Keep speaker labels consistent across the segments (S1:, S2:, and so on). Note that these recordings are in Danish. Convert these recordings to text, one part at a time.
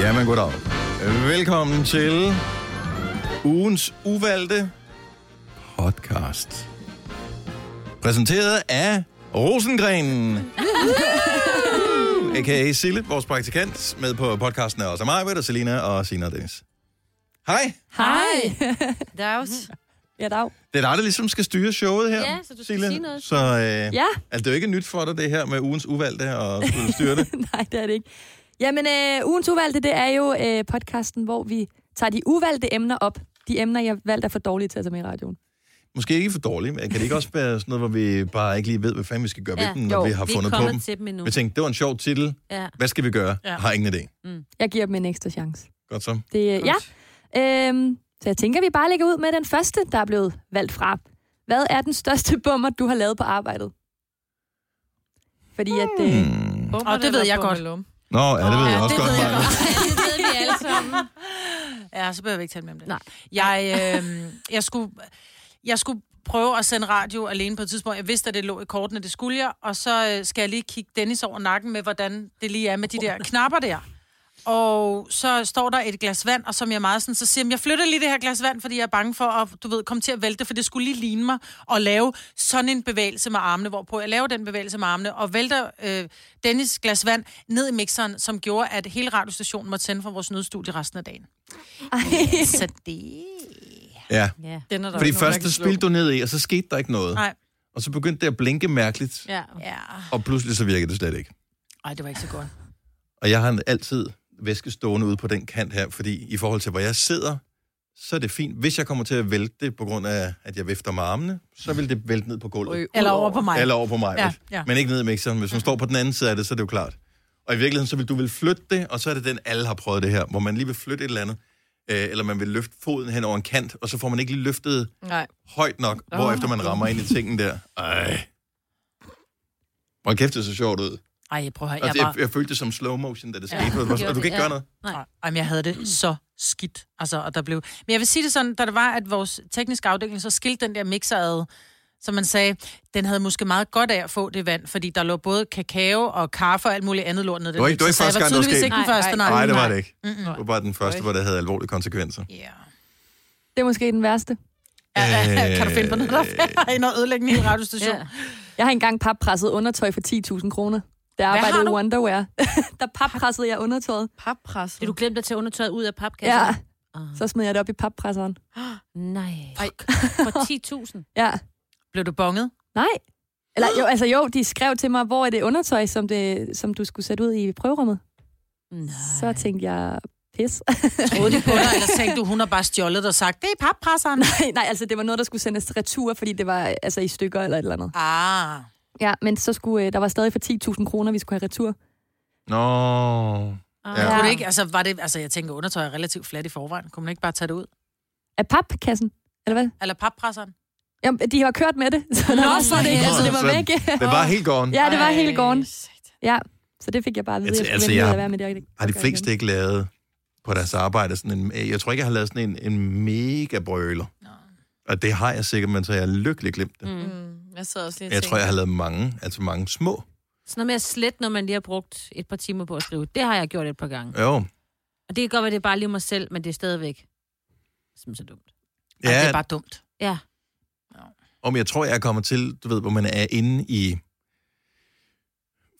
S1: Jamen, goddag. Velkommen til ugens uvalgte podcast. Præsenteret af Rosengrenen. A.k.a. Sille, vores praktikant, med på podcasten er også mig, og Selina og Sina og Dennis. Hej,
S2: Hej.
S3: Dags.
S2: Ja, dag.
S1: det er dig, der ligesom skal styre showet her,
S3: Ja, så du skal
S1: Sille.
S3: sige noget.
S1: Så øh, ja.
S2: Ja,
S1: altså, det er jo ikke nyt for dig, det her med ugens uvalgte og skulle styre det.
S2: nej, det er det ikke. Jamen, øh, ugens uvalgte, det er jo øh, podcasten, hvor vi tager de uvalgte emner op. De emner, jeg valgte er for dårlige til at tage med i radioen.
S1: Måske ikke for dårligt, men kan det ikke også være sådan noget, hvor vi bare ikke lige ved, hvad fanden vi skal gøre ja,
S3: Ja,
S1: ved dem, når
S2: jo,
S1: vi har
S3: Vi
S1: fundet på
S3: er kommet
S1: dem?
S3: til dem endnu.
S1: Vi Mm. tænkte, det var en sjov titel.
S3: Ja.
S1: Hvad skal vi gøre? Ja.
S4: Ja.
S1: Har ingen idé.
S2: Jeg giver dem en ekstra chance.
S1: Godt så.
S2: Det, øh, ja, øhm, så jeg tænker, vi bare lægger ud med den første, der er blevet valgt fra. Hvad er den største bummer, du har lavet på arbejdet? Fordi at... Øh,
S1: Hmm.
S4: Og det ved jeg godt.
S1: Nå, ja, det ved jeg
S4: Ja,
S1: også
S4: det
S1: godt.
S4: ved jeg
S1: Maja.
S4: godt.
S3: det ved vi alle sammen.
S4: Ja, så behøver vi ikke tale mere om det.
S2: Nej.
S4: Jeg, øh, jeg, skulle, jeg skulle prøve at sende radio alene på et tidspunkt. Jeg vidste, at det lå i kortene, det skulle jeg. Og så øh, skal jeg lige kigge Dennis over nakken med, hvordan det lige er med de der knapper der. Og så står der et glas vand, og som jeg er meget sådan, så siger jeg, jeg flytter lige det her glas vand, fordi jeg er bange for at, du ved, komme til at vælte, for det skulle lige ligne mig at lave sådan en bevægelse med armene, hvorpå jeg laver den bevægelse med armene, og vælter øh, Dennis glas vand ned i mixeren, som gjorde, at hele radiostationen måtte sende fra vores nødstudie resten af dagen.
S2: ej.
S4: Så det...
S1: Ja.
S3: Ja.
S5: Den er der
S1: Fordi
S5: ikke nogen, der
S1: først
S5: kan
S1: det
S5: slå.
S1: spil du ned i, og så skete der ikke noget.
S4: Nej.
S1: Og så begyndte det at blinke mærkeligt,
S3: ja.
S4: Ja.
S1: og pludselig så virkede det slet ikke.
S4: Ej, det var ikke så godt.
S1: Og jeg har altid væske stående ude på den kant her, fordi i forhold til, hvor jeg sidder, så er det fint. Hvis jeg kommer til at vælte det på grund af, at jeg vifter med armene, så vil det vælte ned på gulvet.
S5: Ryge ud
S4: Eller over på mig.
S1: Eller over på mig.
S4: Ja, ja.
S1: Men ikke ned i mixeren. Hvis man står på den anden side af det, så er det jo klart. Og i virkeligheden, så vil du vil flytte det, og så er det den, alle har prøvet det her, hvor man lige vil flytte et eller andet, øh, eller man vil løfte foden hen over en kant, og så får man ikke lige løftet
S5: Nej.
S1: højt nok, oh. hvorefter man rammer ind i tingen der. Ej. Hvor kæft, det så sjovt ud.
S4: Ej, prøv at høre.
S1: Altså, jeg,
S4: Jeg, var...
S1: jeg følte det som slow motion, da det skete.
S3: Ja,
S1: Ja, og,
S3: det
S1: du
S3: gjorde
S1: kan
S3: det,
S1: ikke
S3: ja.
S1: gøre noget.
S4: Nej, jamen, jeg havde det så skidt. Altså, og der blev... Men jeg vil sige det sådan, da det var, at vores tekniske afdeling så skilte den der mixer ad, som man sagde, den havde måske meget godt af at få det vand, fordi der lå både kakao og kaffe og alt muligt andet lort ned. i den
S1: var ikke- det var
S4: mixer,
S1: ikke
S4: så
S1: første gang,
S4: jeg
S1: det var
S4: tydeligvis
S1: sket.
S4: ikke den
S5: Nej,
S4: første, nej.
S1: Nej, det var det ikke.
S4: Mm-mm.
S1: Det var bare den første, hvor det havde alvorlige konsekvenser.
S4: Ja.
S2: Det er måske den værste.
S4: Ja,
S1: Øh.
S4: Kan du finde på noget, der er inde og ødelægge en hel radiostation?
S3: Ja.
S2: Jeg har engang pappresset undertøj for 10.000 kroner. Der arbejdede
S4: har
S2: i
S4: du?
S2: Wonderwear. der pappressede jeg undertøjet.
S5: Pappresset.
S3: Det du glemte at tage undertøjet ud af
S2: Ja,
S3: papkassen? Ah.
S2: så smed jeg det op i pappresseren.
S3: Nej.
S5: Ej.
S3: For 10.000.
S2: Ja,
S4: Blev du bonget?
S2: nej. Eller jo, altså jo, de skrev til mig, hvor er det undertøj, som, det, som du skulle sætte ud i prøverummet.
S3: Nej.
S2: Så tænkte jeg, pis.
S4: Troede de på dig, eller tænkte du, hun har bare stjålet og sagt, det er pappresseren? Ah.
S2: nej, altså det var noget, der skulle sendes retur, fordi det var altså i stykker eller et eller andet.
S4: Ah.
S2: Ja, men så skulle, øh, der var stadig for 10.000 kroner, vi skulle have retur.
S1: Nå.
S3: Ah.
S1: Ja.
S4: Kunne det ikke, altså, var det, altså, jeg tænker, undertøj er relativt fladt i forvejen. Kunne man ikke bare tage det ud?
S2: Af papkassen, eller hvad?
S4: Eller pappresseren?
S2: Jamen, de har kørt med det, så der var
S4: Nå,
S2: slet ikke,
S4: ja.
S2: altså det var
S1: Så-
S2: væk.
S1: Det var helt gone.
S2: ja, det var hele gården.
S5: Ej, satan.
S2: Ja, så det fik jeg bare at vide,
S1: Altså,
S2: jeg skulle
S1: altså,
S2: vente med
S1: jeg-
S2: at være med det. jeg ikke-
S1: har de
S2: gøre
S1: fleste
S2: igen.
S1: ikke lavet på deres arbejde sådan en... Jeg tror ikke, jeg har lavet sådan en, en mega brøler.
S4: Nå.
S1: Og det har jeg sikkert, men så er jeg lykkelig glemt det.
S3: Mm.
S5: Mm, jeg sad også lige og
S1: Jeg
S5: tænkte,
S1: tror, jeg har lavet mange, altså mange små.
S3: Sådan noget med at slette, når man lige har brugt et par timer på at skrive. Det har jeg gjort et par gange.
S1: Jo.
S3: Og det kan godt være, det er bare lige mig selv, men det er stadigvæk som så dumt.
S4: Ja. Ej, det
S1: Ja,
S4: er bare dumt.
S3: Ja.
S1: om jeg tror, jeg kommer til, du ved, hvor man er inde i...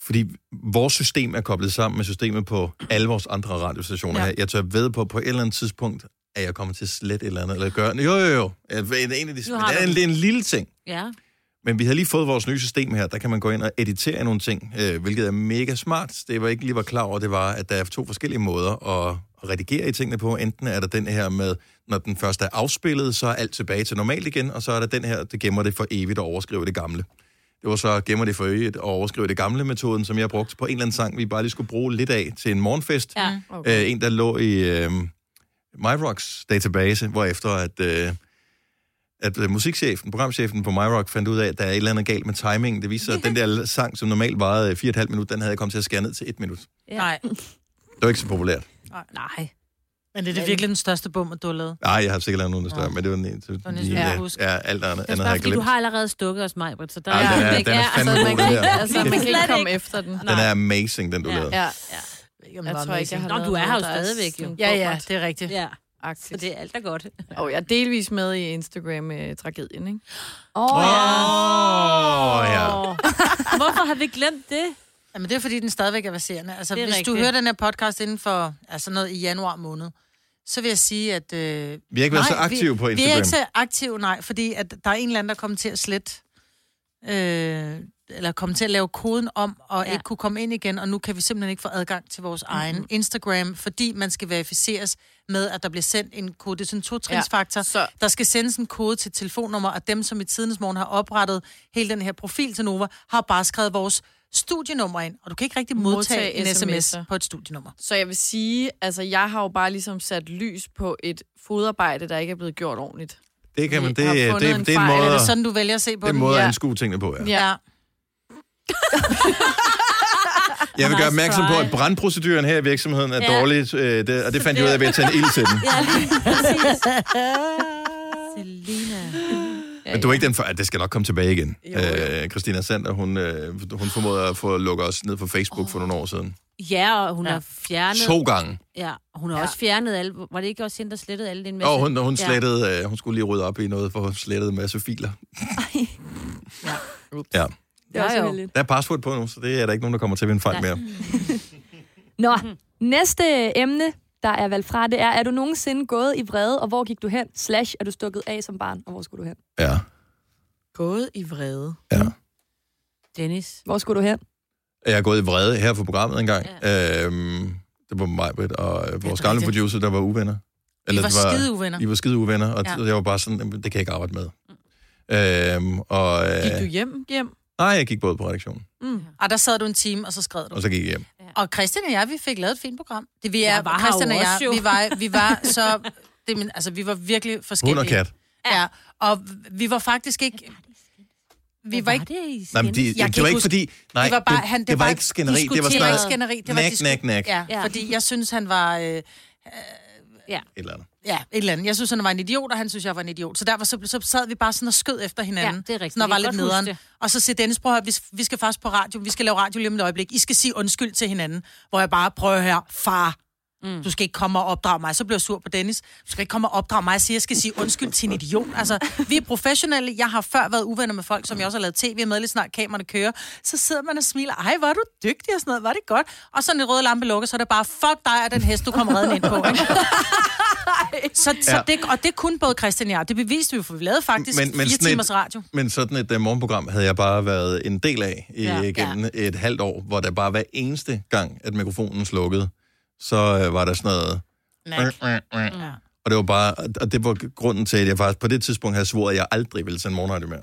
S1: Fordi vores system er koblet sammen med systemet på alle vores andre radiostationer ja.
S3: Ja.
S1: her. Jeg tør ved på, på et eller andet tidspunkt, at jeg kommer til at slette et eller andet, eller gøre... Jo, jo, jo. En, en af de, det
S3: Nu har
S1: er
S3: du
S1: en,
S3: den.
S1: det er en lille ting.
S3: Ja.
S1: Men vi havde lige fået vores nye system her, der kan man gå ind og editere nogle ting, øh, hvilket er mega smart. Det var ikke lige var klar over, det var, at der er to forskellige måder at at redigere i tingene på. Enten er der den her med, når den først er afspillet, så er alt tilbage til normalt igen, og så er der den her, det gemmer det for evigt og overskriver det gamle. Det var så gemmer det for evigt og overskriver det gamle metoden, som jeg brugte på en eller anden sang, vi bare lige skulle bruge lidt af til en morgenfest.
S3: ja.
S4: Mm.
S1: Okay. Øh, en, der lå i øh, MyRocks database, hvor efter at, øh, at øh, musikchefen, programchefen på MyRock fandt ud af, at der er et eller andet galt med timingen. Det viste sig, at den der sang, som normalt varede øh, 4,5 minutter, den havde jeg kommet til at skære ned til 1 minut. Det
S3: Ja.
S4: Nej.
S1: var ikke så populært.
S3: Nej.
S4: Men det er det virkelig den største bummer, du har lavet.
S1: Nej, jeg har sikkert lavet nogen, der er større,
S4: Nå.
S1: men det var den ene. så
S4: var næsten,
S1: lige-
S4: jeg
S1: Ja,
S4: kunne huske.
S1: ja, alt andet,
S3: Det er
S1: andet har
S3: bare,
S1: jeg
S3: fordi du
S1: glemt.
S3: har allerede stukket os, Majbrit, så der
S1: Ej,
S3: er
S1: den er-
S3: ikke-
S1: den er
S3: ja,
S1: fandme
S3: altså,
S1: god, den
S3: man kan
S1: der.
S3: ikke-
S5: altså, man kan
S3: slet
S5: ikke komme
S3: ikke.
S5: efter den.
S1: Den er amazing, den du
S3: Ja.
S1: lavede.
S5: Ja.
S3: Ja.
S5: ved ikke, om
S6: Jeg
S5: der
S6: tror ikke, jeg har
S3: Nå,
S6: lavet
S3: du er her
S6: noget,
S3: jo
S6: der
S3: stadigvæk, jo.
S6: sådan
S4: Ja, ja,
S6: bommert-agtigt.
S4: det er rigtigt.
S3: Ja, så det er alt, der er godt.
S6: Og jeg er delvis med i Instagram-tragedien, ikke?
S2: Åh, oh, ja.
S1: Åh, ja.
S3: Åh. Hvorfor har vi glemt det?
S4: Jamen, det er, fordi den stadigvæk er baserende. Altså,
S3: Det
S4: hvis
S3: er
S4: rigtigt. du
S3: rigtigt.
S4: hører den her podcast inden for altså noget i januar måned, så vil jeg sige, at... Øh,
S1: Vi har ikke været så aktive
S4: vi,
S1: på
S4: Vi er
S1: Instagram.
S4: ikke så aktive, nej, fordi at der er en eller anden, der kommer til at slette... Øh, eller komme til at lave koden om, og ja.
S3: Ja.
S4: ikke kunne komme ind igen, og nu kan vi simpelthen ikke få adgang til vores
S6: Mhm.
S4: mm-hmm. egen Instagram, fordi man skal verificeres med, at der bliver sendt en kode. Det er sådan en to-trins-faktor. Ja,
S6: så-
S4: Der skal sendes en kode til et telefonnummer, og dem, som i tidens morgen har oprettet hele den her profil til Nova, har bare skrevet vores studienummer ind, og du kan ikke rigtig modtage,
S6: Modtage
S4: modtage en sms
S6: sms'er.
S4: på et studienummer.
S6: Så jeg vil sige, altså jeg har jo bare ligesom sat lys på et fodarbejde, der ikke er blevet gjort ordentligt.
S1: Det kan man, det,
S6: Vi har
S1: det,
S6: fundet
S1: det,
S6: en
S1: det er en
S6: fejl,
S1: måde,
S4: Er det
S1: det
S4: sådan, du vælger at se på
S1: er en
S4: den?
S1: måde at
S6: Ja.
S1: anskue tingene på, ja.
S4: Ja.
S1: Jeg vil gøre
S3: Nice
S1: opmærksom på,
S3: try.
S1: at brandproceduren her i virksomheden er
S3: Ja.
S1: dårlig, øh, det, og det fandt jeg ud af ved at tænde ild til den.
S3: Ja, lige præcis. Selina.
S1: Men du er ikke den for, at det skal nok komme tilbage igen.
S6: Jo, jo.
S1: Øh, Christina Sander, hun, øh, hun formåede at få lukket os ned fra Facebook oh. for nogle år siden.
S3: Ja, og hun ja. har fjernet...
S1: To gange.
S3: Ja, og hun har ja. også fjernet alle... Var det ikke også hende, der slettede alle dine
S1: Og hun, hun, slettede, øh, hun skulle lige rydde op i noget, for hun slettede en masse filer. ja.
S2: Det er også
S3: Ja, jo.
S2: uheldigt.
S1: Der er password på nu, så det er der ikke nogen, der kommer til at vinde fejl
S3: Nej.
S1: mere.
S2: Nå,
S4: Mhm.
S2: næste emne, der er valgt fra, det er, er du nogensinde gået i vrede, og hvor gik du hen? Slash, er du stukket af som barn, og hvor skulle du hen?
S1: Ja.
S6: Gået i vrede.
S1: ja.
S3: Dennis.
S2: Hvor skulle du hen?
S1: Jeg er gået i vrede her for programmet engang. Ja. Øhm, det var mig, Britt, og øh, vores gamle
S4: rigtigt.
S1: producer, der var uvenner.
S4: Vi var,
S1: det
S4: var skide uvenner.
S1: I var skide uvenner, og
S4: Ja.
S1: ja. jeg var bare sådan, "Jamen, det kan jeg ikke arbejde med. Øhm, og, øh,
S6: Gik du hjem? Hjem?
S1: Nej, jeg gik både på redaktionen,
S6: Mm.
S4: Og Ah, der sad du en time, og så skrev du.
S1: og så gik jeg hjem.
S4: Og Christian og jeg, vi fik lavet et fint program. Det vi er,
S3: Jeg var
S4: var
S3: her
S4: Christian
S3: jo
S4: og jeg,
S3: også, jo.
S4: vi var, vi var så... Det, er min, altså, vi var virkelig forskellige.
S1: Hund og kat.
S4: Ja, og vi var faktisk ikke... Vi var ikke...
S3: det i
S1: Nej, men de,
S4: kan
S1: det, det
S4: ikke
S1: var ikke
S4: huske-
S1: fordi... Nej,
S4: det var bare, han,
S1: det, det var
S4: bare
S1: ikke skænderi. Det var
S4: Det var ikke
S1: snart et
S4: skænderi. Det var
S1: Nak,
S4: disku-
S1: nak, nak.
S4: Ja,
S3: Ja.
S4: fordi jeg synes, han var... Øh,
S1: eller andet.
S4: ja, et eller andet. Jeg synes, han var en idiot, og han synes, jeg var en idiot. Så derfor så, så sad vi bare sådan og skød efter hinanden.
S3: Ja, det er rigtigt.
S4: Når
S3: Jeg
S4: var
S3: kan
S4: lidt
S3: godt huske
S4: nederen.
S3: det.
S4: Og så siger Dennis, prøv at høre, vi, vi skal faktisk på radio. Vi skal lave radio lige om et øjeblik. I skal sige undskyld til hinanden. Hvor jeg bare prøver her, far, mm. du skal ikke komme og opdrage mig. Så bliver jeg sur på Dennis. Du skal ikke komme og opdrage mig og sige, jeg skal sige undskyld til en idiot. Altså, vi er professionelle. Jeg har før været uvenner med folk, som jeg også har lavet tv med, lige snart kameraerne kører. Så sidder man og smiler. Ej, hvor er du dygtig og sådan noget. Var det godt? Og så når den røde lampe lukker, så er det bare, fuck dig og den hest, du kommer redden ind på. Ikke? så, så
S1: Ja.
S4: ja. det, og det kunne både Christian og jeg. Det beviste vi, jo, for vi lavede faktisk
S1: Men-
S4: men,
S1: men
S4: men fire
S1: sådan et-
S4: timers radio.
S1: Men sådan et uh, morgenprogram havde jeg bare været en del af i, ja,
S3: Ja.
S1: gennem ja. et halvt år, hvor der bare hver eneste gang, at mikrofonen slukkede, så uh, var der sådan noget...
S4: Nej.
S1: Ja.
S4: Ja.
S1: Og det var bare... Og det var grunden til, at jeg faktisk på det tidspunkt havde svoret, at jeg aldrig ville sende morgenradio mere.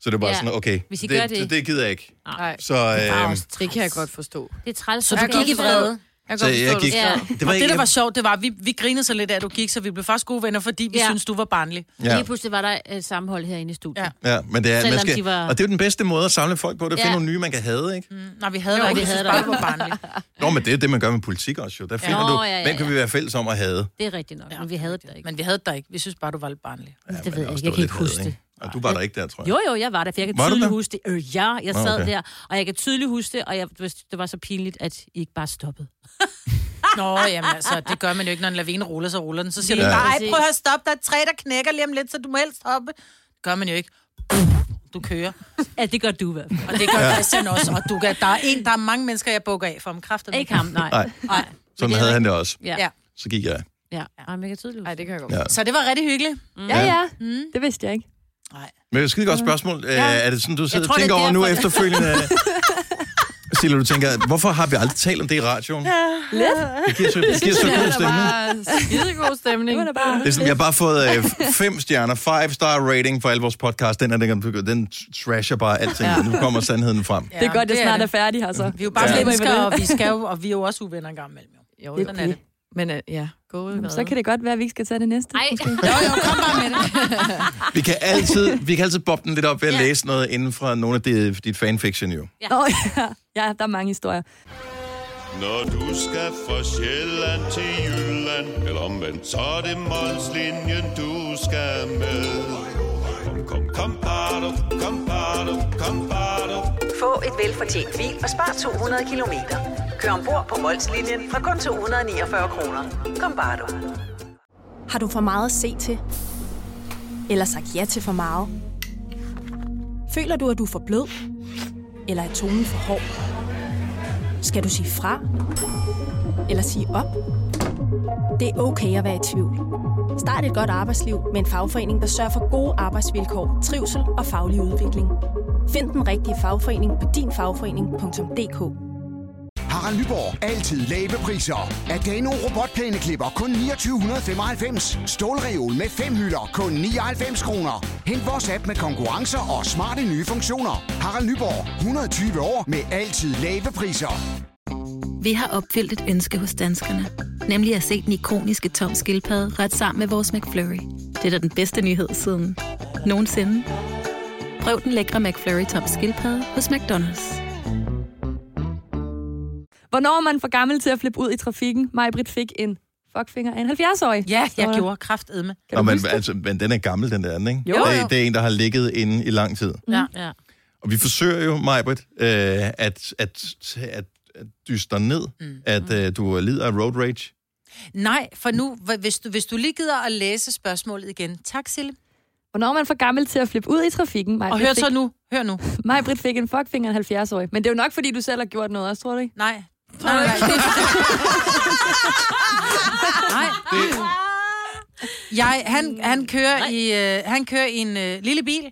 S1: Så det var ja.
S3: Ja.
S1: sådan, okay,
S3: Hvis I gør
S1: det,
S3: det-
S1: det, det gider jeg ikke.
S6: Nej,
S1: Så, øh,
S6: det kan jeg godt forstå.
S3: Det er træls.
S4: Så du gik i vrede.
S6: Jeg kan
S1: så
S6: godt forstå,
S1: jeg
S6: du
S1: gik...
S6: skrev.
S3: skrev.
S1: Det
S4: Og det, der
S1: jeg-
S4: var sjovt, det var, at vi, vi grinede så lidt af, at du gik, så vi blev faktisk gode venner, fordi vi ja.
S3: Ja.
S4: synes du var barnlig.
S3: Ja.
S1: Ja.
S3: Lige pludselig var der et sammenhold herinde i studiet.
S4: Ja.
S1: Ja, men det er, man
S3: Selvom
S1: skal,
S3: de var-
S1: og det er jo den bedste måde at samle folk på, det er at
S3: Ja.
S1: finde nogle nye, man kan have, ikke?
S4: Mm, Nej, vi havde
S3: Jo,
S4: jo,
S3: vi
S4: ikke, vi
S3: havde
S4: havde
S3: dig.
S4: bare, du var barnlig.
S1: Nå, men det er det, man gør med politik også, jo. Der finder
S3: Nå,
S1: du,
S3: ja, ja,
S1: hvem kan vi være fælles om at have?
S3: Det er rigtigt nok, men vi havde det der ikke.
S4: Men vi havde dig ikke. Vi synes bare, du var lidt barnlig.
S3: Ja, det
S1: men
S3: ved jeg
S1: også, det
S3: ikke. Jeg
S1: var
S3: kan
S1: lidt
S3: ikke huske
S1: had,
S3: det.
S1: Og du var der ikke der, tror jeg.
S3: Jo, jo, jeg var der, for jeg kan
S1: Var du
S3: tydeligt
S1: der?
S3: huske det. Øh, ja, jeg
S1: Nå,
S3: sad
S1: okay.
S3: der, og jeg kan tydeligt huske det, og jeg, det var så pinligt, at I ikke bare stoppede.
S4: Nå, jamen altså, det gør man jo ikke, når en lavine ruller, så ruller den. Så siger
S3: Lige
S4: du bare, "Ej,
S3: præcis.
S4: prøv at høre, stop, der er et træ, der knækker lige om lidt, så du må helst hoppe. Det gør man jo ikke. Du kører.
S3: Ja, det gør du i hvert fald.
S4: Og det gør Christian også. Og du kan, der er en, der er mange mennesker, jeg bukker af for om kræfter.
S3: Ikke ham, nej.
S1: Nej.
S3: nej.
S1: Sådan havde han det også.
S3: Ja.
S4: Ja.
S3: Ja.
S1: Så gik jeg.
S3: ja. Ej, men jeg kan tydeligt
S6: Nej,
S3: huske
S6: det kan jeg godt
S1: Ja.
S6: forstå.
S4: Så det var rigtig hyggeligt.
S2: Ja,
S1: Ja.
S2: ja.
S4: Mm.
S2: Det vidste jeg ikke.
S1: Men det er et skide godt spørgsmål. Ja. Er det sådan, du sidder
S4: tror,
S1: og
S4: det er
S1: tænker over nu
S4: derfor, det-
S1: efterfølgende? Silla, du tænker, hvorfor har vi aldrig talt om det i radioen?
S2: Lidt.
S1: Det giver så, det giver så god
S6: Det
S1: stemning.
S6: var skidegod
S2: Det
S6: stemning.
S2: var da bare...
S1: Det er sådan, jeg har bare fået øh, fem stjerner, five star rating for alle vores podcast. Den, er, den, den trasher bare alting. Ja. Nu kommer sandheden frem.
S2: Det er godt, jeg
S4: det Mm. er
S2: snart
S4: det.
S2: er altså. færdig her, så.
S4: Vi er jo bare
S1: Ja.
S4: ja. mennesker, og vi, skal jo, og vi er jo også uvenner en gang imellem. Jo.
S6: Jo,
S2: Det er
S6: jo.
S4: Sådan er det.
S6: Men øh, ja, gået i vrede.
S2: Så kan det godt være, at vi ikke skal tage det næste.
S3: Ej,
S4: Jo, jo, kom bare med det.
S1: Vi kan altid, vi kan altid bobbe den lidt op ved at ja.
S3: Ja.
S1: læse noget inden fra nogle af dit, dit fanfiction, jo.
S2: Nå, ja. ja, der er mange historier.
S7: Når du skal fra Sjælland til Jylland Eller omvendt, så er det Molslinjen, du skal med Kom, kom, kom, bado, kom, bado, kom, bado.
S5: Få et velfortjent bil og spar 200 kilometer. Kør ombord på Molslinjen fra kun 249 kroner. Kom bare du.
S8: Har du for meget at se til? Eller sagt ja til for meget? Føler du, at du er for blød? Eller er tonen for hård? Skal du sige fra? Eller sige op? Det er okay at være i tvivl. Start et godt arbejdsliv med en fagforening, der sørger for gode arbejdsvilkår, trivsel og faglig udvikling. Find den rigtige fagforening på dinfagforening.dk.
S9: Harald Nyborg. Altid lave priser. Adano robotplæneklipper kun 2995. Stålreol med fem hylder kun 99 kroner. Hent vores app med konkurrencer og smarte nye funktioner. Harald Nyborg. 120 år med altid lave priser.
S10: Vi har opfyldt et ønske hos danskerne. Nemlig at se den ikoniske tom skildpadde ret sammen med vores McFlurry. Det er da den bedste nyhed siden nogensinde. Prøv den lækre McFlurry tom skildpadde hos McDonald's.
S2: Hvornår er man for gammel til at flippe ud i trafikken? Majbrit fik en fuckfinger af en 70-årig.
S4: Ja, jeg
S2: Nå.
S4: gjorde kraftedme.
S2: Kan
S1: Nå,
S2: du
S1: men,
S2: huske det?
S1: altså, men den er gammel, den der anden, ikke?
S2: Jo,
S1: det,
S4: jo.
S1: er, det er en, der har ligget inde i lang tid.
S3: Ja, Mm. ja.
S1: Og vi forsøger jo, Majbrit, øh, at, at, at, at dyste dig ned, mm. at øh, du lider af road rage.
S4: Nej, for nu, hva- hvis du, hvis du lige gider at læse spørgsmålet igen. Tak, Sille.
S2: Hvornår er man for gammel til at flippe ud i trafikken?
S4: Og
S2: Majbrit
S4: hør
S2: fik,
S4: så nu. Hør nu.
S2: Majbrit fik en fuckfinger af en 70-årig. Men det er jo nok, fordi du selv har gjort noget også, tror du ikke?
S4: Nej. Nej, nej, det nej. Jeg, han, han, kører i, øh, han kører i en øh, lille bil,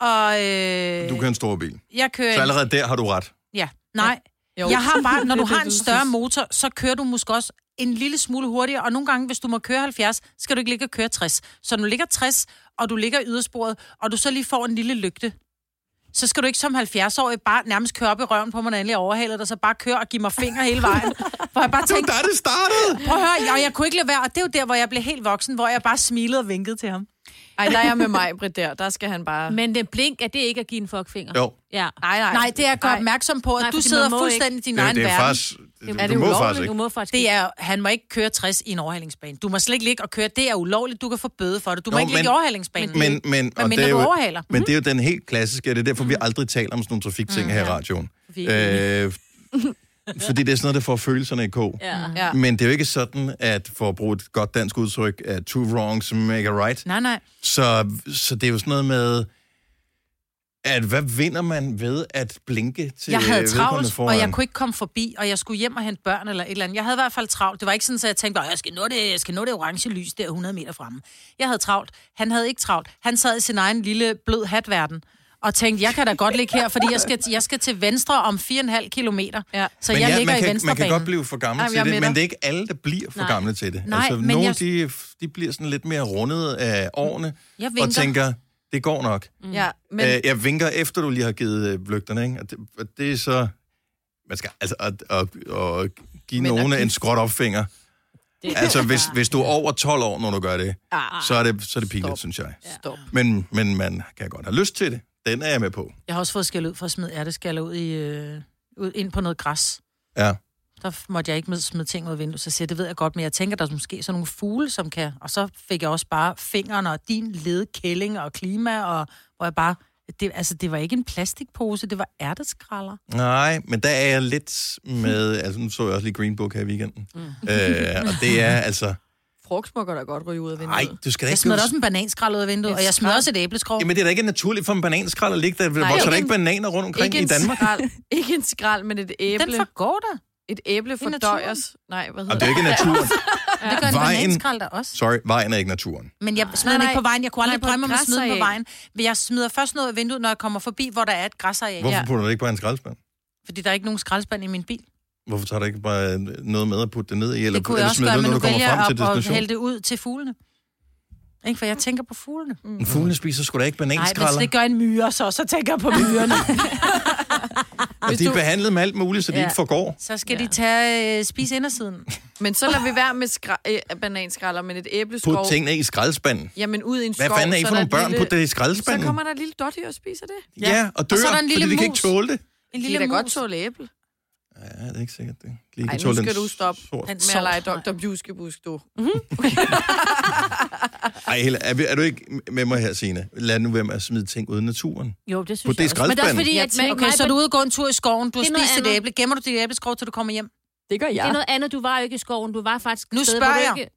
S4: og øh,
S1: Du kører en stor bil.
S4: jeg kører...
S1: Så
S4: en-
S1: allerede der har du ret.
S4: Ja, nej.
S6: Jo.
S4: Jeg har bare, når du
S6: Det er
S4: har
S6: det,
S4: en
S6: du
S4: større
S6: synes.
S4: motor, så kører du måske også en lille smule hurtigere, og nogle gange, hvis du må køre 70, skal du ikke ligge og køre 60. Så når du ligger 60, og du ligger i ydersporet, og du så lige får en lille lygte, så skal du ikke som 70-årig bare nærmest køre op i røven på mig, når jeg endelig overhaler dig, så bare køre og give mig fingre hele vejen. Hvor jeg bare
S1: Det var
S4: tænkte,
S1: der, det startede!
S4: prøv at høre, og jeg kunne ikke lade være, og det er jo der, hvor jeg blev helt voksen, hvor jeg bare smilede og vinkede til ham.
S6: Ej, der er jeg med mig, Britt, der. Der skal han bare...
S3: Men det blink, er det ikke at give en fuckfinger?
S1: Jo,
S3: Ja.
S6: Nej, nej.
S4: Nej, det er jeg godt opmærksom på, at
S3: Nej,
S4: du
S3: fordi
S4: sidder
S3: man må
S4: fuldstændig i din
S1: det,
S4: egen
S1: det er
S4: verden.
S1: faktisk...
S3: Er
S1: du
S3: det
S1: må
S3: ulovligt?
S1: faktisk
S3: Du
S1: ikke.
S3: må faktisk
S4: Det
S3: ikke.
S4: er, han må ikke køre 60 i en overhalingsbane. Du må slet ikke ligge og køre. Det er ulovligt. Du kan få bøde for det. Du må
S1: Nå,
S4: ikke ligge i
S1: men-
S4: overhalingsbanen.
S1: Men, men, og det
S4: mindre
S1: er
S4: du
S1: jo,
S4: overhaler. Mhm.
S1: men det er jo den helt klassiske, og det er derfor, vi aldrig taler om sådan nogle trafikting her i radioen.
S3: Vi er ikke
S1: Øh, fordi det er sådan noget, der får følelserne i kog.
S3: Ja.
S6: Ja.
S1: Men det er jo ikke sådan, at for at bruge et godt dansk udtryk, at two wrongs make a right.
S4: Nej, nej.
S1: Så, så det er jo sådan noget med, at hvad vinder man ved at blinke til
S4: Jeg havde
S1: øh, vedkommende
S4: travlt,
S1: foran?
S4: og jeg kunne ikke komme forbi, og jeg skulle hjem og hente børn eller et eller andet. Jeg havde i hvert fald travlt. Det var ikke sådan, at jeg tænkte, "Åh, jeg skal nå det, jeg skal nå det orange lys der 100 meter fremme. Jeg havde travlt. Han havde ikke travlt. Han sad i sin egen lille blød hatverden og tænkte, jeg kan da godt ligge her, fordi jeg skal, jeg skal til venstre om 4,5 kilometer.
S6: Ja.
S4: Så
S1: men
S4: jeg
S1: ja,
S4: ligger
S1: man
S4: i
S1: kan, Man kan
S4: venstrebanen.
S1: godt blive for gammel
S6: Jamen,
S1: Jamen, til
S6: jeg er
S1: det,
S6: med
S1: men
S6: dig.
S1: det er ikke alle, der bliver for Nej. gamle til det.
S4: Nej,
S1: altså,
S4: men
S1: nogle
S4: jeg-
S1: de, de bliver sådan lidt mere rundet af årene
S4: Jeg
S1: og
S4: vinker.
S1: tænker, det går nok.
S6: Ja, men...
S1: Men... Øh, jeg vinker efter, du lige har givet øh, lygterne, ikke? Og det, og det er så... Man skal altså at, at, at give
S6: Men at
S1: nogen
S6: give-
S1: en skråt opfinger. Altså, hvis, hvis du er over 12 år, når du gør det, ah, så er det, så er det pinligt, synes jeg.
S6: Stop.
S1: Men, men man kan godt have lyst til det. Den er jeg med på.
S4: Jeg har også fået skæld ud for at smide ærteskaller ud, i, øh, ud ind på noget græs.
S1: Ja.
S4: Der f- måtte jeg ikke med- smide ting ud af vinduet, så jeg siger, jeg, det ved jeg godt, men jeg tænker, der er måske sådan nogle fugle, som kan... Og så fik jeg også bare fingrene og din led, kælling og klima, og hvor jeg bare... Det, altså, det var ikke en plastikpose, det var ærteskraller.
S1: Nej, men der er jeg lidt med... Altså, nu så jeg også lige Green Book her i weekenden. Mm. Øh, og det er altså...
S6: Frugt må godt da godt ryge ud af vinduet.
S1: Nej, du skal da
S4: Jeg
S1: ikke...
S4: smed
S1: blive-
S4: også en bananskrald ud af vinduet, og jeg smed også et æbleskrog.
S1: Jamen, det er da ikke naturligt for en bananskrald at ligge der. Der vokser der
S6: ikke
S1: ikke bananer rundt omkring
S6: ikke
S1: i
S6: en
S1: Danmark.
S6: Skrald, ikke en skrald, men et æble.
S4: Den forgår der.
S6: Et æble fordøjes. Nej, hvad hedder
S1: Jamen, det er jo ikke naturen.
S4: Det gør en
S1: Vejen-
S4: bananskrald der også.
S1: Sorry, vejen er ikke naturen.
S4: Men jeg smider den
S6: Nej,
S4: ikke på vejen. Jeg kunne aldrig
S6: nej, på
S4: drømme om at
S6: et
S4: smide den på
S6: græsareal.
S4: vejen. Men jeg smider først noget af vinduet, når jeg kommer forbi, hvor der er et græsareal.
S1: Hvorfor
S6: Ja.
S1: putter du det ikke bare i en skraldespand?
S4: Fordi der er ikke nogen skraldespand i min bil.
S1: Hvorfor tager du ikke bare noget med at putte det ned i, eller,
S4: det kunne
S1: eller
S4: jeg også
S1: smide det
S4: gøre,
S1: ud,
S4: men
S1: når
S4: nu
S1: du kommer
S4: vælger
S1: frem til
S4: jeg at, at hælde
S1: destinationen?
S4: det ud til fuglene. Ikke, for jeg tænker på fuglene.
S1: En fugle spiser sgu da ikke
S4: Nej, hvis
S1: bananskralder.
S4: det gør en myre så, så tænker jeg på myrerne.
S1: Og Altså, de er behandlet med alt muligt, så de
S3: Ja.
S1: ikke forgår.
S4: så skal ja. de tage øh, spise indersiden.
S6: det? Men så lader vi være med skra- øh, bananskralder, men et æbleskov.
S1: Put tingene i skraldespanden.
S6: Jamen ud i en skov.
S1: Hvad fanden er I
S6: så
S1: for
S6: der
S1: nogle
S6: et
S1: børn?
S6: lille-
S1: Put det i
S6: Så
S1: skraldespanden.
S6: kommer der et lille dotty og spiser det.
S1: Ja, og dør,
S4: så er der en
S1: fordi
S4: lille
S1: de kan ikke
S4: mus.
S1: tåle det.
S4: En
S6: De kan
S4: lille
S6: da godt
S4: mus.
S6: tåle æble.
S1: Ja, det er ikke sikkert. Det. Lige
S6: Ej,
S1: kan
S6: nu
S1: tåle
S6: skal
S1: en
S6: du stoppe
S1: sort.
S6: med at lege Dr. Bjuskebusk, du.
S1: Ej, Helle, er, vi- er du ikke med mig her, Signe? Lad nu være med at smide ting ude i naturen.
S3: Jo, det
S1: På
S3: synes
S1: det
S3: jeg også. Men det er også
S1: skraldespanden.
S3: fordi,
S1: Jeg
S3: at...
S4: tænker-
S3: Okay, så er du ude og gå en tur i skoven, du har Det er noget spist et andet.
S4: æble. Gemmer du dit æbleskov, til du kommer hjem?
S2: Det gør
S3: Det er noget andet. Du var jo ikke i skoven. Du var faktisk et
S4: Nu
S3: sted,
S4: spørger
S3: hvor du
S4: jeg.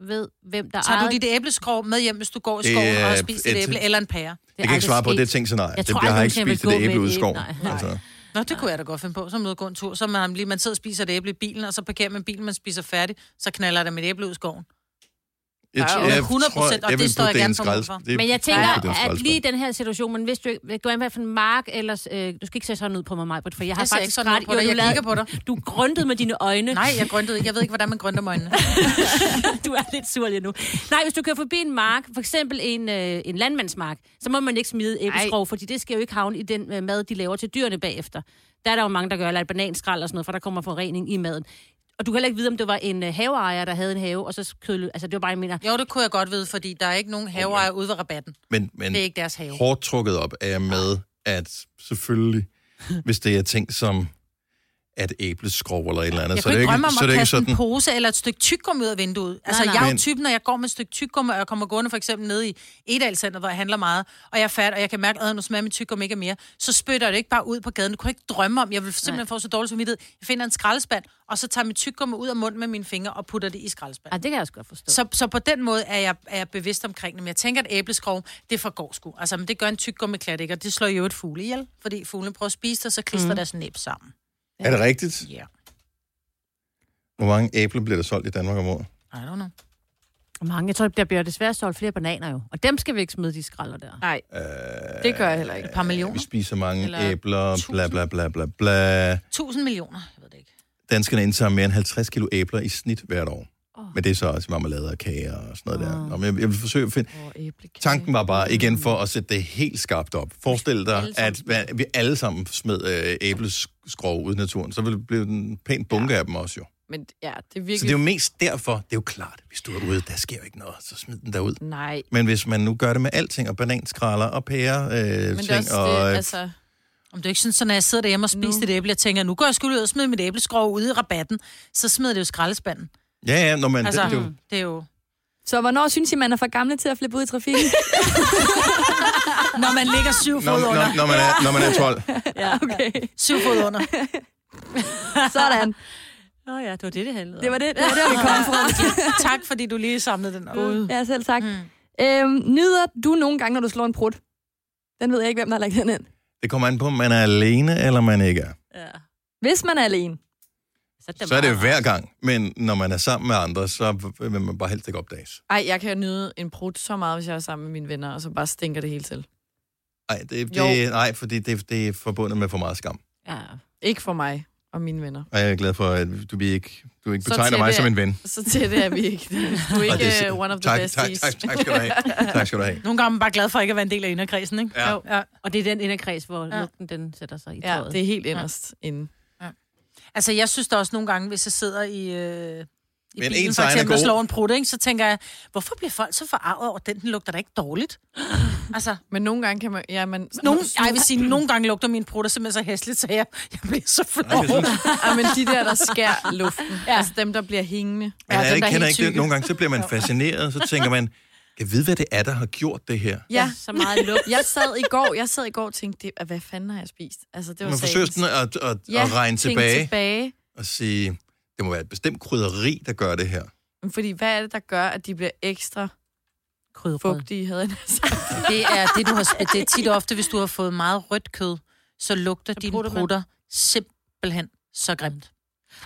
S3: ikke ved, hvem der
S4: Tager du
S3: ejede-
S4: dit æbleskrog med hjem, hvis du går i
S1: Det
S4: skoven
S1: er
S4: og har spist et
S1: et-
S4: æble eller en pære?
S1: Det kan jeg ikke svare på, det er et tænkt scenarie.
S4: Jeg
S1: Det,
S4: tror
S1: jeg har
S4: aldrig
S1: ikke
S4: nogensinde,
S1: spist
S4: jeg
S1: det
S4: vil gå
S1: æble
S4: med
S1: ude i
S4: et-
S1: skoven.
S4: nej, nej.
S1: Altså.
S4: Nå, det kunne jeg da godt finde på. Så er man ude og gå en tur, så man, lige, man sidder og spiser et æble i bilen, og så parkerer man bilen, man spiser færdig, så knaller der mit æble ud i skoven.
S1: Jeg,
S4: Ja,
S1: tror-
S4: jo,
S1: jeg,
S4: 100%,
S1: tror,
S4: og
S1: jeg
S4: det
S1: vil
S4: står
S1: putte
S4: jeg
S1: det i en
S4: gerne på mål
S1: skralds-
S4: for.
S1: det-
S3: Men jeg
S1: Ja,
S3: tænker,
S1: putte det i en
S3: at
S1: skraldespand.
S3: lige i den her situation, men hvis du ikke, det går i hvert fald en mark, ellers, øh, du skal ikke se sådan ud på mig, Majbrit, for jeg har
S4: Jeg ser
S3: faktisk
S4: ikke sådan ud
S3: ret.
S4: på dig.
S3: du
S4: Jeg
S3: lavede-
S4: kigger på dig.
S3: Du grøntede med dine øjne.
S4: Nej, jeg grøntede ikke. Jeg ved ikke, hvordan man grønter med øjnene.
S3: du er lidt sur lige nu. Nej, hvis du kører forbi en mark, for eksempel en, øh, en landmandsmark, så må man ikke smide æbleskrog, fordi det skal jo ikke havne i den øh, mad, de laver til dyrene bagefter. Der er der jo mange, der gør, eller et bananskrald og sådan noget, for der kommer forurening i maden. Og du kan heller ikke vide, om det var en øh, haveejer, der havde en have, og så kødle... Altså, det var bare, jeg mener...
S4: Jo, det kunne jeg godt vide, fordi der er ikke nogen haveejer ude ved rabatten.
S1: Men, men
S4: Det er ikke deres have.
S1: hårdt trukket op er jeg med, at selvfølgelig, hvis det er ting som at æbleskrog eller et eller andet,
S4: Jeg
S1: så
S4: kunne
S1: er Altså, det
S4: ikke
S1: ikke,
S4: drømme om
S1: så er
S4: at
S1: det ikke
S4: kaste en
S1: sådan,
S4: pose eller et stykke tyggegummi ud af vinduet. Altså,
S1: nej.
S4: jeg er jo
S1: Men-
S4: typen, når jeg går med et stykke tyggegummi, og jeg kommer gående for eksempel nede i Edalcenter, hvor jeg handler meget, og jeg er fat, og jeg kan mærke, at nu smager min tyggegummi ikke af mere, så spytter jeg det ikke bare ud på gaden. Det kunne jeg ikke drømme om. Jeg vil simpelthen få så dårlig samvittighed. Jeg finder en skraldespand, og så tager mit tyggegummi ud af munden med mine fingre og putter det i skraldespanden.
S3: Ah, det kan jeg også godt forstå.
S4: Så, så på den måde er jeg, er jeg bevidst omkring det. Men jeg tænker, at æbleskrog, det forgår sgu. Altså, men det gør en tykgummiklat ikke, og det slår jo et fugle ihjel. Fordi fuglene prøver at spise det, og så klister mm. deres næb sammen.
S1: er det rigtigt?
S4: Ja.
S1: Hvor mange æbler bliver der solgt i Danmark om året?
S4: I don't know.
S3: Mange. Jeg tror, der bliver desværre solgt flere bananer jo. Og dem skal vi ikke smide de skralder der.
S6: Nej.
S1: Øh,
S6: Det gør jeg heller ikke.
S4: Et par millioner.
S1: Vi spiser mange
S4: Eller
S1: æbler, bla
S4: tusind.
S1: bla bla bla bla.
S4: 1000 millioner.
S1: Danskerne indtager mere end 50 kilo æbler i snit hvert år. Oh. Men det er så også marmelade og kager og sådan noget oh. der. Nå, men jeg, jeg vil forsøge at finde... Oh, Tanken var bare, igen for at sætte det helt skarpt op. Forestil dig, at hva- vi alle sammen smed øh, æbleskrog ud i naturen. Så ville det blive en pæn bunke ja. af dem også jo.
S6: Men ja, det er
S1: Så
S6: virkelig...
S1: det er jo mest derfor, det er jo klart, hvis du er ude, der sker jo ikke noget, så smid den derud.
S6: Nej.
S1: Men hvis man nu gør det med alting, og bananskraller og pære, øh, ting, og, øh,
S6: altså-
S4: Om det er ikke sådan, så når jeg sidder derhjemme og spiser et æble, jeg tænker, nu går jeg skulle ud og smide mit æbleskrog ude i rabatten, så smider det jo i skraldespanden.
S1: Ja, ja, når man...
S4: altså,
S1: det, det, er jo-
S4: det er jo...
S2: Så hvornår synes I, man er for gamle til at flippe ud i trafikken?
S4: når man ligger syv
S1: når, når, når, man er, når man er 12.
S2: ja, okay.
S4: Syv fod under.
S2: Sådan.
S3: Nå ja, det var det, det handlede om.
S2: Det var det, det, var det vi kom fra.
S4: tak, fordi du lige samlede den ud.
S2: Ja, selv tak. Mm. Øhm, nyder du nogle gange, når du slår en prut? Den ved jeg ikke, hvem der har lagt den ind.
S1: Det kommer an på, om man er alene, eller man ikke er.
S2: Hvis man er alene.
S1: Så er det hver gang. Men når man er sammen med andre, så vil man bare helst ikke opdages.
S6: Ej, jeg kan nyde en brud så meget, hvis jeg er sammen med mine venner, og så bare stinker det hele til.
S1: Ej, det,
S6: Jo.
S1: det, nej, fordi det, det er forbundet med for meget skam.
S6: Ja. Ikke for mig og mine venner.
S1: Og jeg er glad for, at du bliver ikke, du ikke
S6: Så
S1: betegner
S6: tætte-
S1: mig som en ven.
S6: Så tætte er vi ikke. Du er
S1: Og
S6: ikke
S1: det er-
S6: uh, one of the
S1: tak, tak,
S6: besties.
S1: tak, tak, skal du have. Tak skal du have.
S4: Nogle gange er man bare glad for ikke at være en del af inderkredsen, ikke?
S1: Ja.
S4: Jo, ja.
S3: Og det er den inderkreds, hvor ja. lugten den sætter sig i
S6: Ja,
S3: tøjet.
S6: det er helt inderst ja. inde.
S4: Altså, jeg synes da også nogle gange, hvis jeg sidder i... Øh... I
S1: Men
S4: bilen
S1: ens
S4: for
S1: egen er
S4: eksempel og
S1: god.
S4: slår en prut, ikke? så tænker jeg, hvorfor bliver folk så forarvet over den? Den lugter da ikke dårligt. altså,
S6: Men nogle gange kan man... Ja, man
S4: nogle, ej, jeg vil sige, nogle gange lugter min prutter simpelthen så hæsligt, så jeg, jeg bliver så flov.
S6: ja, men de der, der skærer luften. Ja. Altså dem, der bliver hængende.
S1: Men
S6: dem,
S1: jeg
S6: der
S1: ikke,
S6: er
S1: kender
S6: helt
S1: ikke det.
S6: tykke.
S1: Nogle gange så bliver man fascineret, så tænker man, jeg ved, hvad det er, der har gjort det her.
S6: Ja,
S3: så meget luft.
S6: Jeg sad i går, jeg sad i går og tænkte, det, hvad fanden har jeg spist? Altså, det var
S1: Man forsøger sådan at, at, at, at regne
S6: tænk
S1: tilbage
S6: tilbage.
S1: og sige, det må være et bestemt krydderi, der gør det her.
S6: Men Fordi hvad er det, der gør, at de bliver ekstra fugtige, havde jeg nær sagt.
S4: Det er det, du har spist. Det er tit og ofte, hvis du har fået meget rødt kød, så lugter dine
S3: prutter man.
S4: brutter simpelthen så grimt.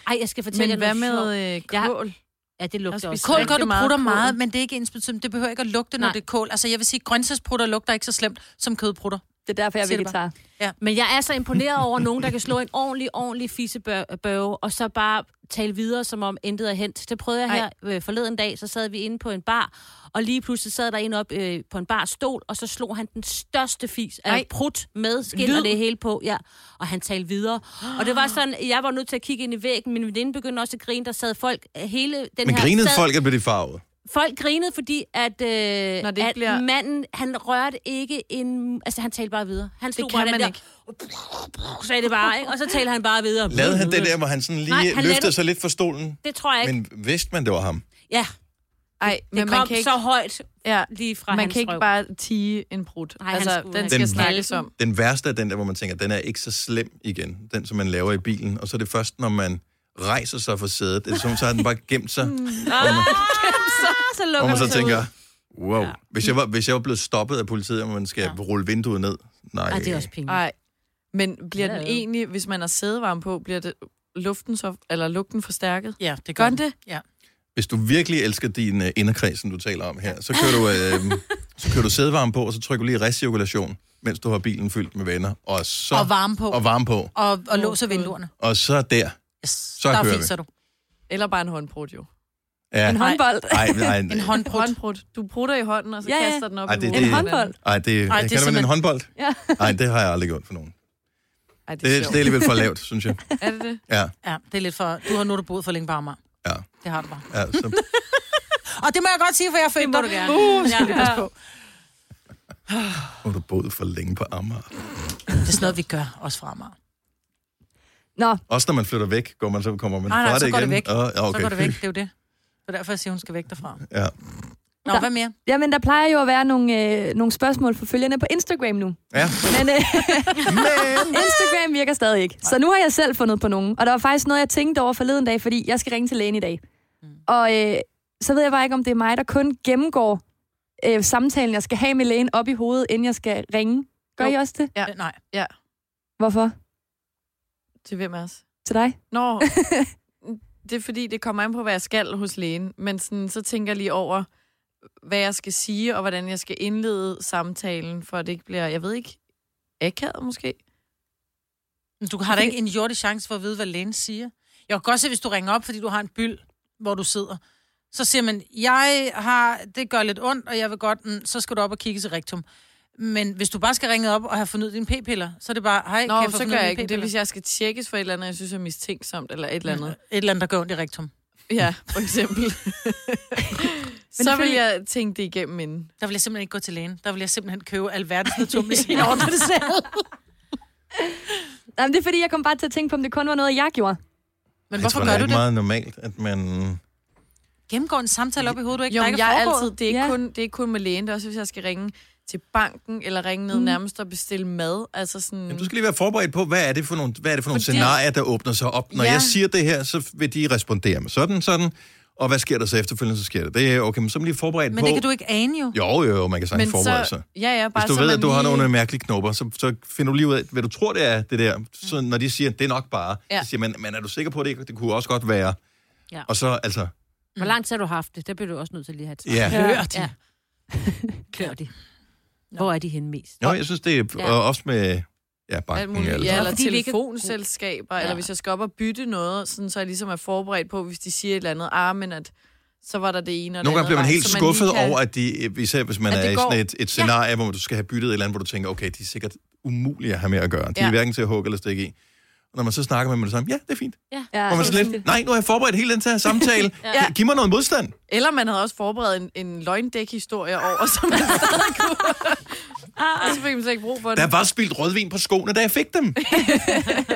S3: Ej, jeg skal fortælle
S6: Men
S3: jer
S6: hvad
S3: noget sjovt.
S6: med øh,
S3: Jeg-
S6: kål?
S3: Ja, det lugter
S6: Jeg
S3: også.
S6: spiser
S4: Kål
S6: rigtig
S4: gør du
S6: meget
S4: prutter
S6: kål.
S4: meget, men det er ikke ens betydende. Det behøver ikke at lugte, når
S3: Nej.
S4: det er kål. Altså, jeg vil sige, grøntsagsprutter lugter ikke så slemt som kødprutter.
S2: Det er derfor, jeg er
S4: Siger det
S2: vegetar.
S3: Men jeg er så imponeret over nogen, der kan slå en ordentlig, ordentlig fissebørge, og så bare tale videre, som om intet er hent. Det prøvede jeg her
S6: Ej.
S3: øh, forleden dag, så sad vi inde på en bar, og lige pludselig sad der en op øh, på en barstol, og så slog han den største fis af
S6: Ej.
S3: prut med skin
S6: Lyd.
S3: og det hele på, ja. Og han talte videre. Og det var sådan, jeg var nødt til at kigge ind i væggen, min veninde begyndte også at grine, der sad folk øh, hele den
S1: Men
S3: her...
S1: grinede
S3: sad,
S1: folk, at blev de farvet?
S3: Folk grinede, fordi at, øh, at
S6: ikke bliver-
S3: manden, han rørte ikke en... Altså, han talte bare videre. Han stod
S6: Det
S3: bare
S6: kan
S3: den
S6: man
S3: der,
S6: ikke.
S3: sagde det bare, ikke? Og så talte han bare videre.
S1: Lavede han det der, hvor han sådan lige
S3: Mm-hmm. Nej,
S1: Nej,
S3: han
S1: han løftede
S3: lavede-
S1: sig lidt fra stolen?
S3: Det tror jeg ikke. Men...
S1: Men vidste man, det var ham?
S3: Ja,
S6: Ej, men
S3: det
S6: man
S3: kom
S6: kan ikke,
S3: så højt
S6: ja,
S3: lige fra
S6: man
S3: hans
S6: kan ikke
S3: røv.
S6: bare tige en brud.
S3: Nej, han
S6: altså,
S3: skulle-
S6: den
S3: han
S6: skal
S1: skulle
S6: snakkes
S3: kalde
S6: om.
S1: Den værste er den der, hvor man tænker, den er ikke så slem igen. Den, som man laver i bilen. Og så er det først, når man rejser sig fra sædet, det er som, så har den bare gemt sig.
S3: Ah, så
S1: Hvor
S3: lukker
S1: man så
S3: Mm. sig ud.
S1: tænker, wow. Hvis jeg var, hvis jeg var blevet stoppet af politiet, og man skal ja. rulle vinduet ned. Nej.
S3: Ej, det er også pinligt.
S6: Ej, men bliver den
S3: Mm. Ja.
S6: egentlig, hvis man har sædevarme på, bliver det luften så, eller lugten forstærket?
S4: Ja, det
S6: Gør
S4: gør
S6: den det?
S4: Ja.
S1: Hvis du virkelig elsker din øh, inderkreds, som du taler om her, så kører du, øh, så kører du sædevarme på, og så trykker du lige recirkulation, mens du har bilen fyldt med venner. Og, så,
S4: Og varme på.
S1: Og varme på.
S4: Og, og låser vinduerne.
S1: Og så der.
S4: Yes.
S1: Så
S4: der
S1: kører
S4: fiser du.
S6: Eller bare en håndbrud, jo.
S1: Ja.
S2: En håndbold.
S1: Ej, nej,
S4: En
S1: nej.
S4: håndbrud.
S6: Håndbrud. Du prutter i hånden, og så
S2: Ja,
S6: ja,
S2: ja.
S6: kaster den op
S1: Ej,
S6: i
S1: det-
S6: hovedet.
S2: En
S1: det-
S2: håndbold.
S1: Ej, det, Ej,
S4: det
S1: det
S4: er
S1: kan man en
S4: simpelthen-
S1: håndbold?
S2: Ja.
S1: Nej, det har jeg aldrig gjort for nogen.
S6: Ej, det
S1: Det,
S6: er,
S1: det er
S6: sjovt.
S1: alligevel for lavt, synes jeg.
S6: er det det?
S1: Ja,
S4: Ja, det er lidt for... Du har nu er du boet for længe på Amager.
S1: Ja.
S4: Det har du bare.
S1: ja så,
S4: Og det må jeg godt sige, for jeg følte
S3: må du gerne.
S4: Uh, skal
S3: Ja.
S4: ja. lige passe på.
S1: nu har du boet for længe på Amager.
S4: Det er sådan noget, vi gør, også fra Amager.
S2: Nå,
S1: Også når man flytter væk, går man, så kommer man
S4: Nej, nej,
S1: fra
S4: så
S1: det
S4: går det
S1: igen.
S4: væk.
S1: Åh, ja,
S4: Okay.
S1: okay.
S4: Så går det væk, det er jo det. Det er derfor, jeg siger, hun skal væk derfra.
S1: Ja.
S4: Nå,
S2: Der-
S4: hvad mere?
S2: jamen der plejer jo at være nogle, øh, nogle spørgsmål for følgerne på Instagram nu.
S1: ja.
S2: Men øh,
S1: Men...
S2: Instagram virker stadig ikke. Så nu har jeg selv fundet på nogen. Og der var faktisk noget, jeg tænkte over forleden dag, fordi jeg skal ringe til lægen i dag.
S6: Mm.
S2: Og øh, så ved jeg bare ikke, om det er mig, der kun gennemgår øh, samtalen, jeg skal have med lægen op i hovedet, inden jeg skal ringe. Gør
S6: Jo.
S2: I også det?
S6: Ja.
S4: Øh, Nej.
S2: Hvorfor?
S6: Til hvem af os?
S2: Til dig?
S6: Nå, det er fordi, det kommer an på, hvad jeg skal hos lægen. Men sådan, så tænker jeg lige over, hvad jeg skal sige, og hvordan jeg skal indlede samtalen, for at det ikke bliver, jeg ved ikke, akavet måske?
S4: Men Du har da ikke en jordig chance for at vide, hvad lægen siger. Jeg kan godt se, hvis du ringer op, fordi du har en byld, hvor du sidder. Så siger man, jeg har, det gør lidt ondt, og jeg vil godt, mm, så skal du op og kigge til rektum. Men hvis du bare skal ringe op og have fundet dine p-piller, så er det bare, hej,
S6: Nå,
S4: kan jeg få
S6: så
S4: fundet
S6: gør jeg
S4: mine
S6: ikke. Det er,
S4: p-piller?
S6: hvis jeg skal tjekkes for et eller andet, jeg synes er mistænksomt, eller et eller andet.
S4: Et eller andet, der går ondt i rektum.
S6: Ja, for eksempel. så vil jeg tænke det igennem inden.
S4: Der vil jeg simpelthen ikke gå til lægen. Der vil jeg simpelthen købe alverdens naturmedicin over det selv.
S2: Jamen, det er fordi, jeg kom bare til at tænke på, om det kun var noget, jeg gjorde.
S4: Men
S1: jeg tror,
S4: hvorfor gør
S1: er
S4: du
S1: ikke
S4: det?
S1: meget normalt, at man...
S4: Gennemgår en samtale op i hovedet, du ikke,
S6: Jo,
S4: der
S6: men
S4: ikke
S6: jeg
S4: er
S6: er
S4: foregået.
S6: altid, det er, ikke
S2: Ja.
S6: kun, det er ikke kun med lægen, det er også, hvis jeg skal ringe til banken, eller ringe ned nærmest og bestille mad. Altså sådan,
S1: Jamen, du skal lige være forberedt på, hvad er det for nogle, hvad er det for nogle
S6: Fordi-
S1: scenarier, der åbner sig op. Når
S6: Ja.
S1: ja. jeg siger det her, så vil de respondere med sådan, sådan. Og hvad sker der så efterfølgende, så sker det. Det er okay, men så er man lige forberedt
S4: Men
S1: på...
S4: det kan du ikke ane jo.
S1: Jo, jo, jo, man kan sagtens forberede sig.
S6: ja, ja, bare
S1: Hvis du
S6: så
S1: ved,
S6: man
S1: at du har
S6: lige-
S1: nogle mærkelige knopper, så, så finder du lige ud af, hvad du tror, det er, det der. Så når de siger, det er nok bare,
S6: Mm. Ja.
S1: ja. så siger man, men er du sikker på det? ikke? Det kunne også godt være.
S3: Ja.
S1: Og så, altså,
S3: Hvor lang tid har du haft det? Der bliver du også nødt til lige at have et
S1: ja.
S4: Hører de.
S3: Ja. Klør de. Hvor er de henne mest?
S1: Jo, jeg synes, det er
S3: Ja.
S1: og også med ja,
S6: Alt
S1: banken.
S6: muligt.
S1: Eller,
S6: Ja,
S1: ja.
S6: eller
S3: Fordi vi ikke-
S6: telefonselskaber, ja. eller hvis jeg skal op og bytte noget, sådan, så jeg ligesom er forberedt på, hvis de siger et eller andet, ah, men at, så var der det ene og det
S1: Nogle gange
S6: andet
S1: bliver man
S6: vej,
S1: helt
S6: så
S1: skuffet
S6: lige kan-
S1: over, at de, øh, især hvis man
S6: At det
S1: er i
S6: går.
S1: sådan et, et scenarie, hvor du skal have byttet et eller andet, hvor du tænker, okay, de er sikkert umulige at have med at gøre. De
S6: Ja.
S1: er hverken til at hugge eller stikke i. Og når man så snakker med dem, er det samme, ja, det er fint.
S2: Ja,
S1: Hvor man sådan lidt, nej, nu har jeg forberedt hele den her samtale. ja. Giv mig noget modstand.
S6: Eller man havde også forberedt en, en løgndæk-historie over, som man stadig kunne. og så fik man slet ikke brug for det.
S1: Der var spildt rødvin på skoene, da jeg fik dem.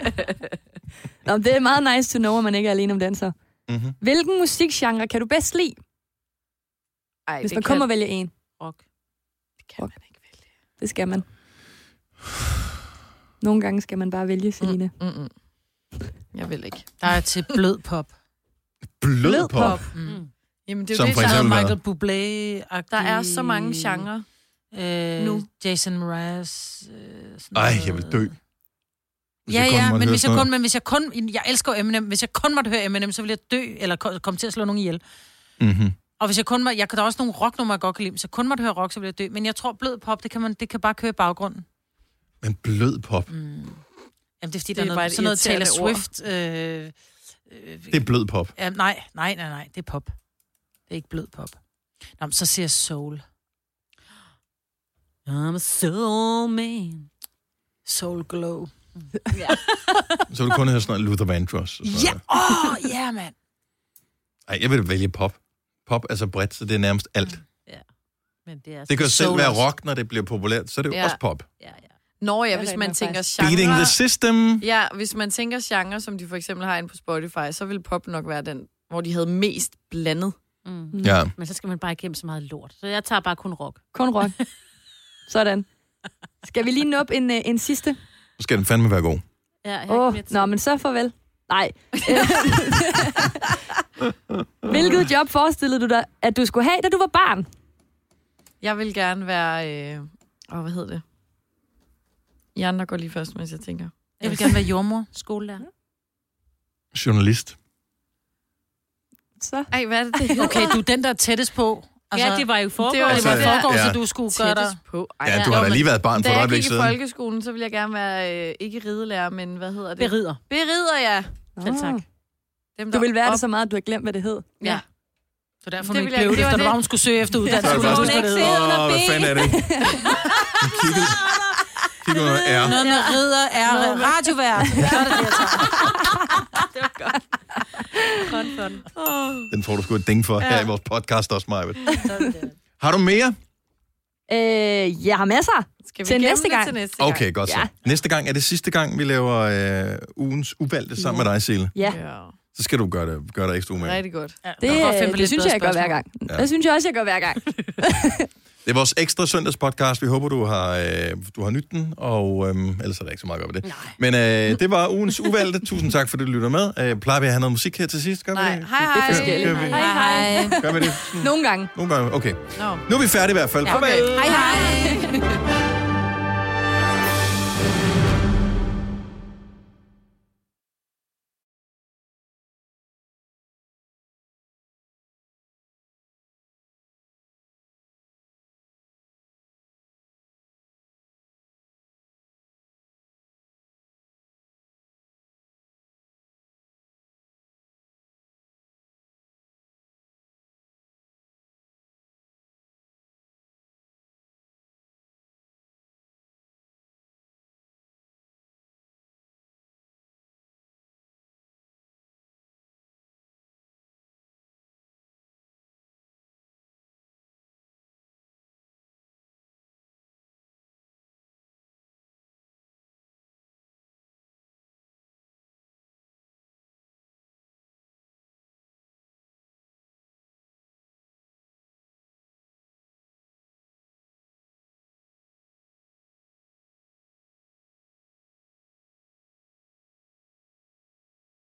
S2: Nå, men det er meget nice to know, at man ikke er alene om den så.
S1: Mhm.
S2: Mm-hmm. Hvilken musikgenre kan du bedst lide,
S6: Ej,
S2: hvis
S6: det
S2: man
S6: kan-
S2: kommer og vælger en?
S3: Rock.
S6: det kan man ikke vælge.
S2: Det skal man. Nogle gange skal man bare vælge, Selina. Mm.
S6: Mm-mm. Jeg vil ikke.
S4: Der er til blød pop.
S1: Blød pop.
S4: Mm.
S6: Jamen, det er jo
S1: Som
S6: det,
S1: for
S6: der-
S4: Der er
S1: eksempel
S4: Michael Bublé. -agtig.
S6: der er så mange genrer.
S4: Øh,
S6: nu.
S4: nu. Jason Mraz. Øh, sådan
S1: Ej,
S4: noget.
S1: jeg vil dø. Hvis
S4: Ja,
S1: jeg kun
S4: ja,
S1: måtte
S4: men
S1: høre
S4: hvis jeg,
S1: sådan noget.
S4: kun, men hvis jeg kun... Jeg elsker jo Eminem. Hvis jeg kun måtte høre Eminem, så ville jeg dø, eller ko- komme til at slå nogen ihjel.
S1: Mm-hmm.
S4: Og hvis jeg kun må, jeg kan der er også nogle rocknumre, jeg godt kan lide. Hvis jeg kun måtte høre rock, så ville jeg dø. Men jeg tror, blød pop, det kan, man, det kan bare køre i baggrunden.
S1: Men blød pop,
S4: Jamen, det er fordi, det
S6: Mm. er
S4: der er,
S6: bare
S4: noget,
S6: et
S4: sådan noget Taylor
S6: irriterende
S4: Swift. Øh, øh,
S1: det er blød pop.
S4: ja, nej, nej, nej, nej. Det er pop. Det er ikke blød pop. Nå, men så siger jeg soul.
S3: I'm a soul man.
S4: Soul glow.
S1: Så vil du kun høre sådan noget Luther Vandross. og sådan
S4: Ja,
S1: noget.
S4: åh, ja, mand.
S1: Ej, jeg vil vælge pop. Pop er så bredt, så det er nærmest alt.
S3: Men det, er
S1: Det kan jo selv
S3: soul
S1: være
S3: også.
S1: rock, når det bliver populært, så er det jo
S6: Ja.
S1: også pop.
S3: Ja, ja.
S6: Nå ja,
S2: er
S6: hvis
S2: rent
S6: man
S2: nok
S6: tænker
S2: faktisk.
S6: genre...
S1: Beating the system.
S6: Ja, hvis man tænker genre, som de for eksempel har inde på Spotify, så vil pop nok være den, hvor de havde mest blandet.
S3: Mm.
S1: Ja.
S3: Men så skal man bare igennem så meget lort. Så jeg tager bare kun rock.
S2: Kun rock. Sådan. Skal vi lige nå op en, øh, en sidste?
S1: Så skal den fandme være god.
S3: Ja, jeg
S2: Åh,
S3: oh,
S2: oh, nå, men så farvel. Nej. Hvilket job forestillede du dig, at du skulle have, da du var barn?
S6: Jeg vil gerne være... Øh... Åh, hvad hedder det? I andre går lige først, mens jeg tænker.
S4: Jeg vil gerne være jordmor.
S3: Skolelærer.
S1: Journalist.
S2: Så.
S6: Ej, hvad er det, det hedder?
S4: Okay, du er den, der er tættest på.
S3: Altså, ja, det var jo forgår.
S6: det var-
S4: det var i
S1: Altså,
S4: forgårs,
S1: ja.
S4: så du skulle gøre dig...
S6: Tættest på. Ej,
S1: Ja, du
S6: jo,
S1: har da
S6: men
S1: lige været barn for
S6: Da
S1: et
S6: jeg
S1: øjeblik
S6: gik i
S1: siden.
S6: folkeskolen, så ville jeg gerne være, øh, ikke ridelærer, men hvad hedder det?
S3: Berider.
S6: Berider, ja.
S3: Selv tak.
S6: Dem,
S2: Ah. Du
S6: der
S2: vil være
S6: op-
S2: det så meget, at du har glemt, hvad det hed.
S6: Ja.
S4: Så derfor
S6: Det
S4: hun ikke
S6: ville jeg-
S4: blev det,
S6: det
S4: efter
S6: var
S4: det
S6: det.
S4: var, hun skulle søge efter
S1: Så
S4: uddannelse.
S1: er det
S4: hun
S1: faktisk
S4: vidste, hvad
S1: sådan,
S4: det hed.
S1: Åh, hvad fanden er det? Hun kiggede, kiggede under R.
S4: Noget med ridder er radiovært.
S1: Den får du sgu et ding for her i vores podcast også, Maja. Har du mere?
S2: Øh, jeg har masser.
S6: Skal vi
S2: Til
S6: gemme
S2: næste
S6: det
S2: gang.
S6: Til næste gang.
S1: Okay, godt så.
S2: Ja.
S1: Næste gang er det sidste gang, vi laver øh, ugens uvalgte sammen med dig, Sille.
S2: Ja,
S6: Ja,
S1: Så skal du gøre det, gøre dig ekstra umage.
S6: rigtig godt.
S2: det,
S4: Nå, fem
S2: øh,
S4: lidt
S2: det synes jeg, jeg gør
S4: bedre
S2: hver gang.
S1: Ja.
S2: Det synes jeg også, jeg gør hver gang.
S1: Det er vores ekstra søndagspodcast. Vi håber, du har, øh, du har nydt den, og øh, ellers er der ikke så meget op det. Nej. Men øh, det var ugens uvalgte. Tusind tak, fordi du lytter med. Øh, plejer vi at have noget musik her til sidst? Gør
S6: Nej,
S1: vi det?
S6: hej hej.
S1: Gør-
S2: forskelligt.
S1: Gør, vi,
S2: Hej, hej.
S1: gør vi det?
S2: Nogle gange.
S1: Nogle gange, okay.
S6: Nå.
S1: Nu er vi færdige i hvert fald. Ja,
S6: Okay. Hej hej.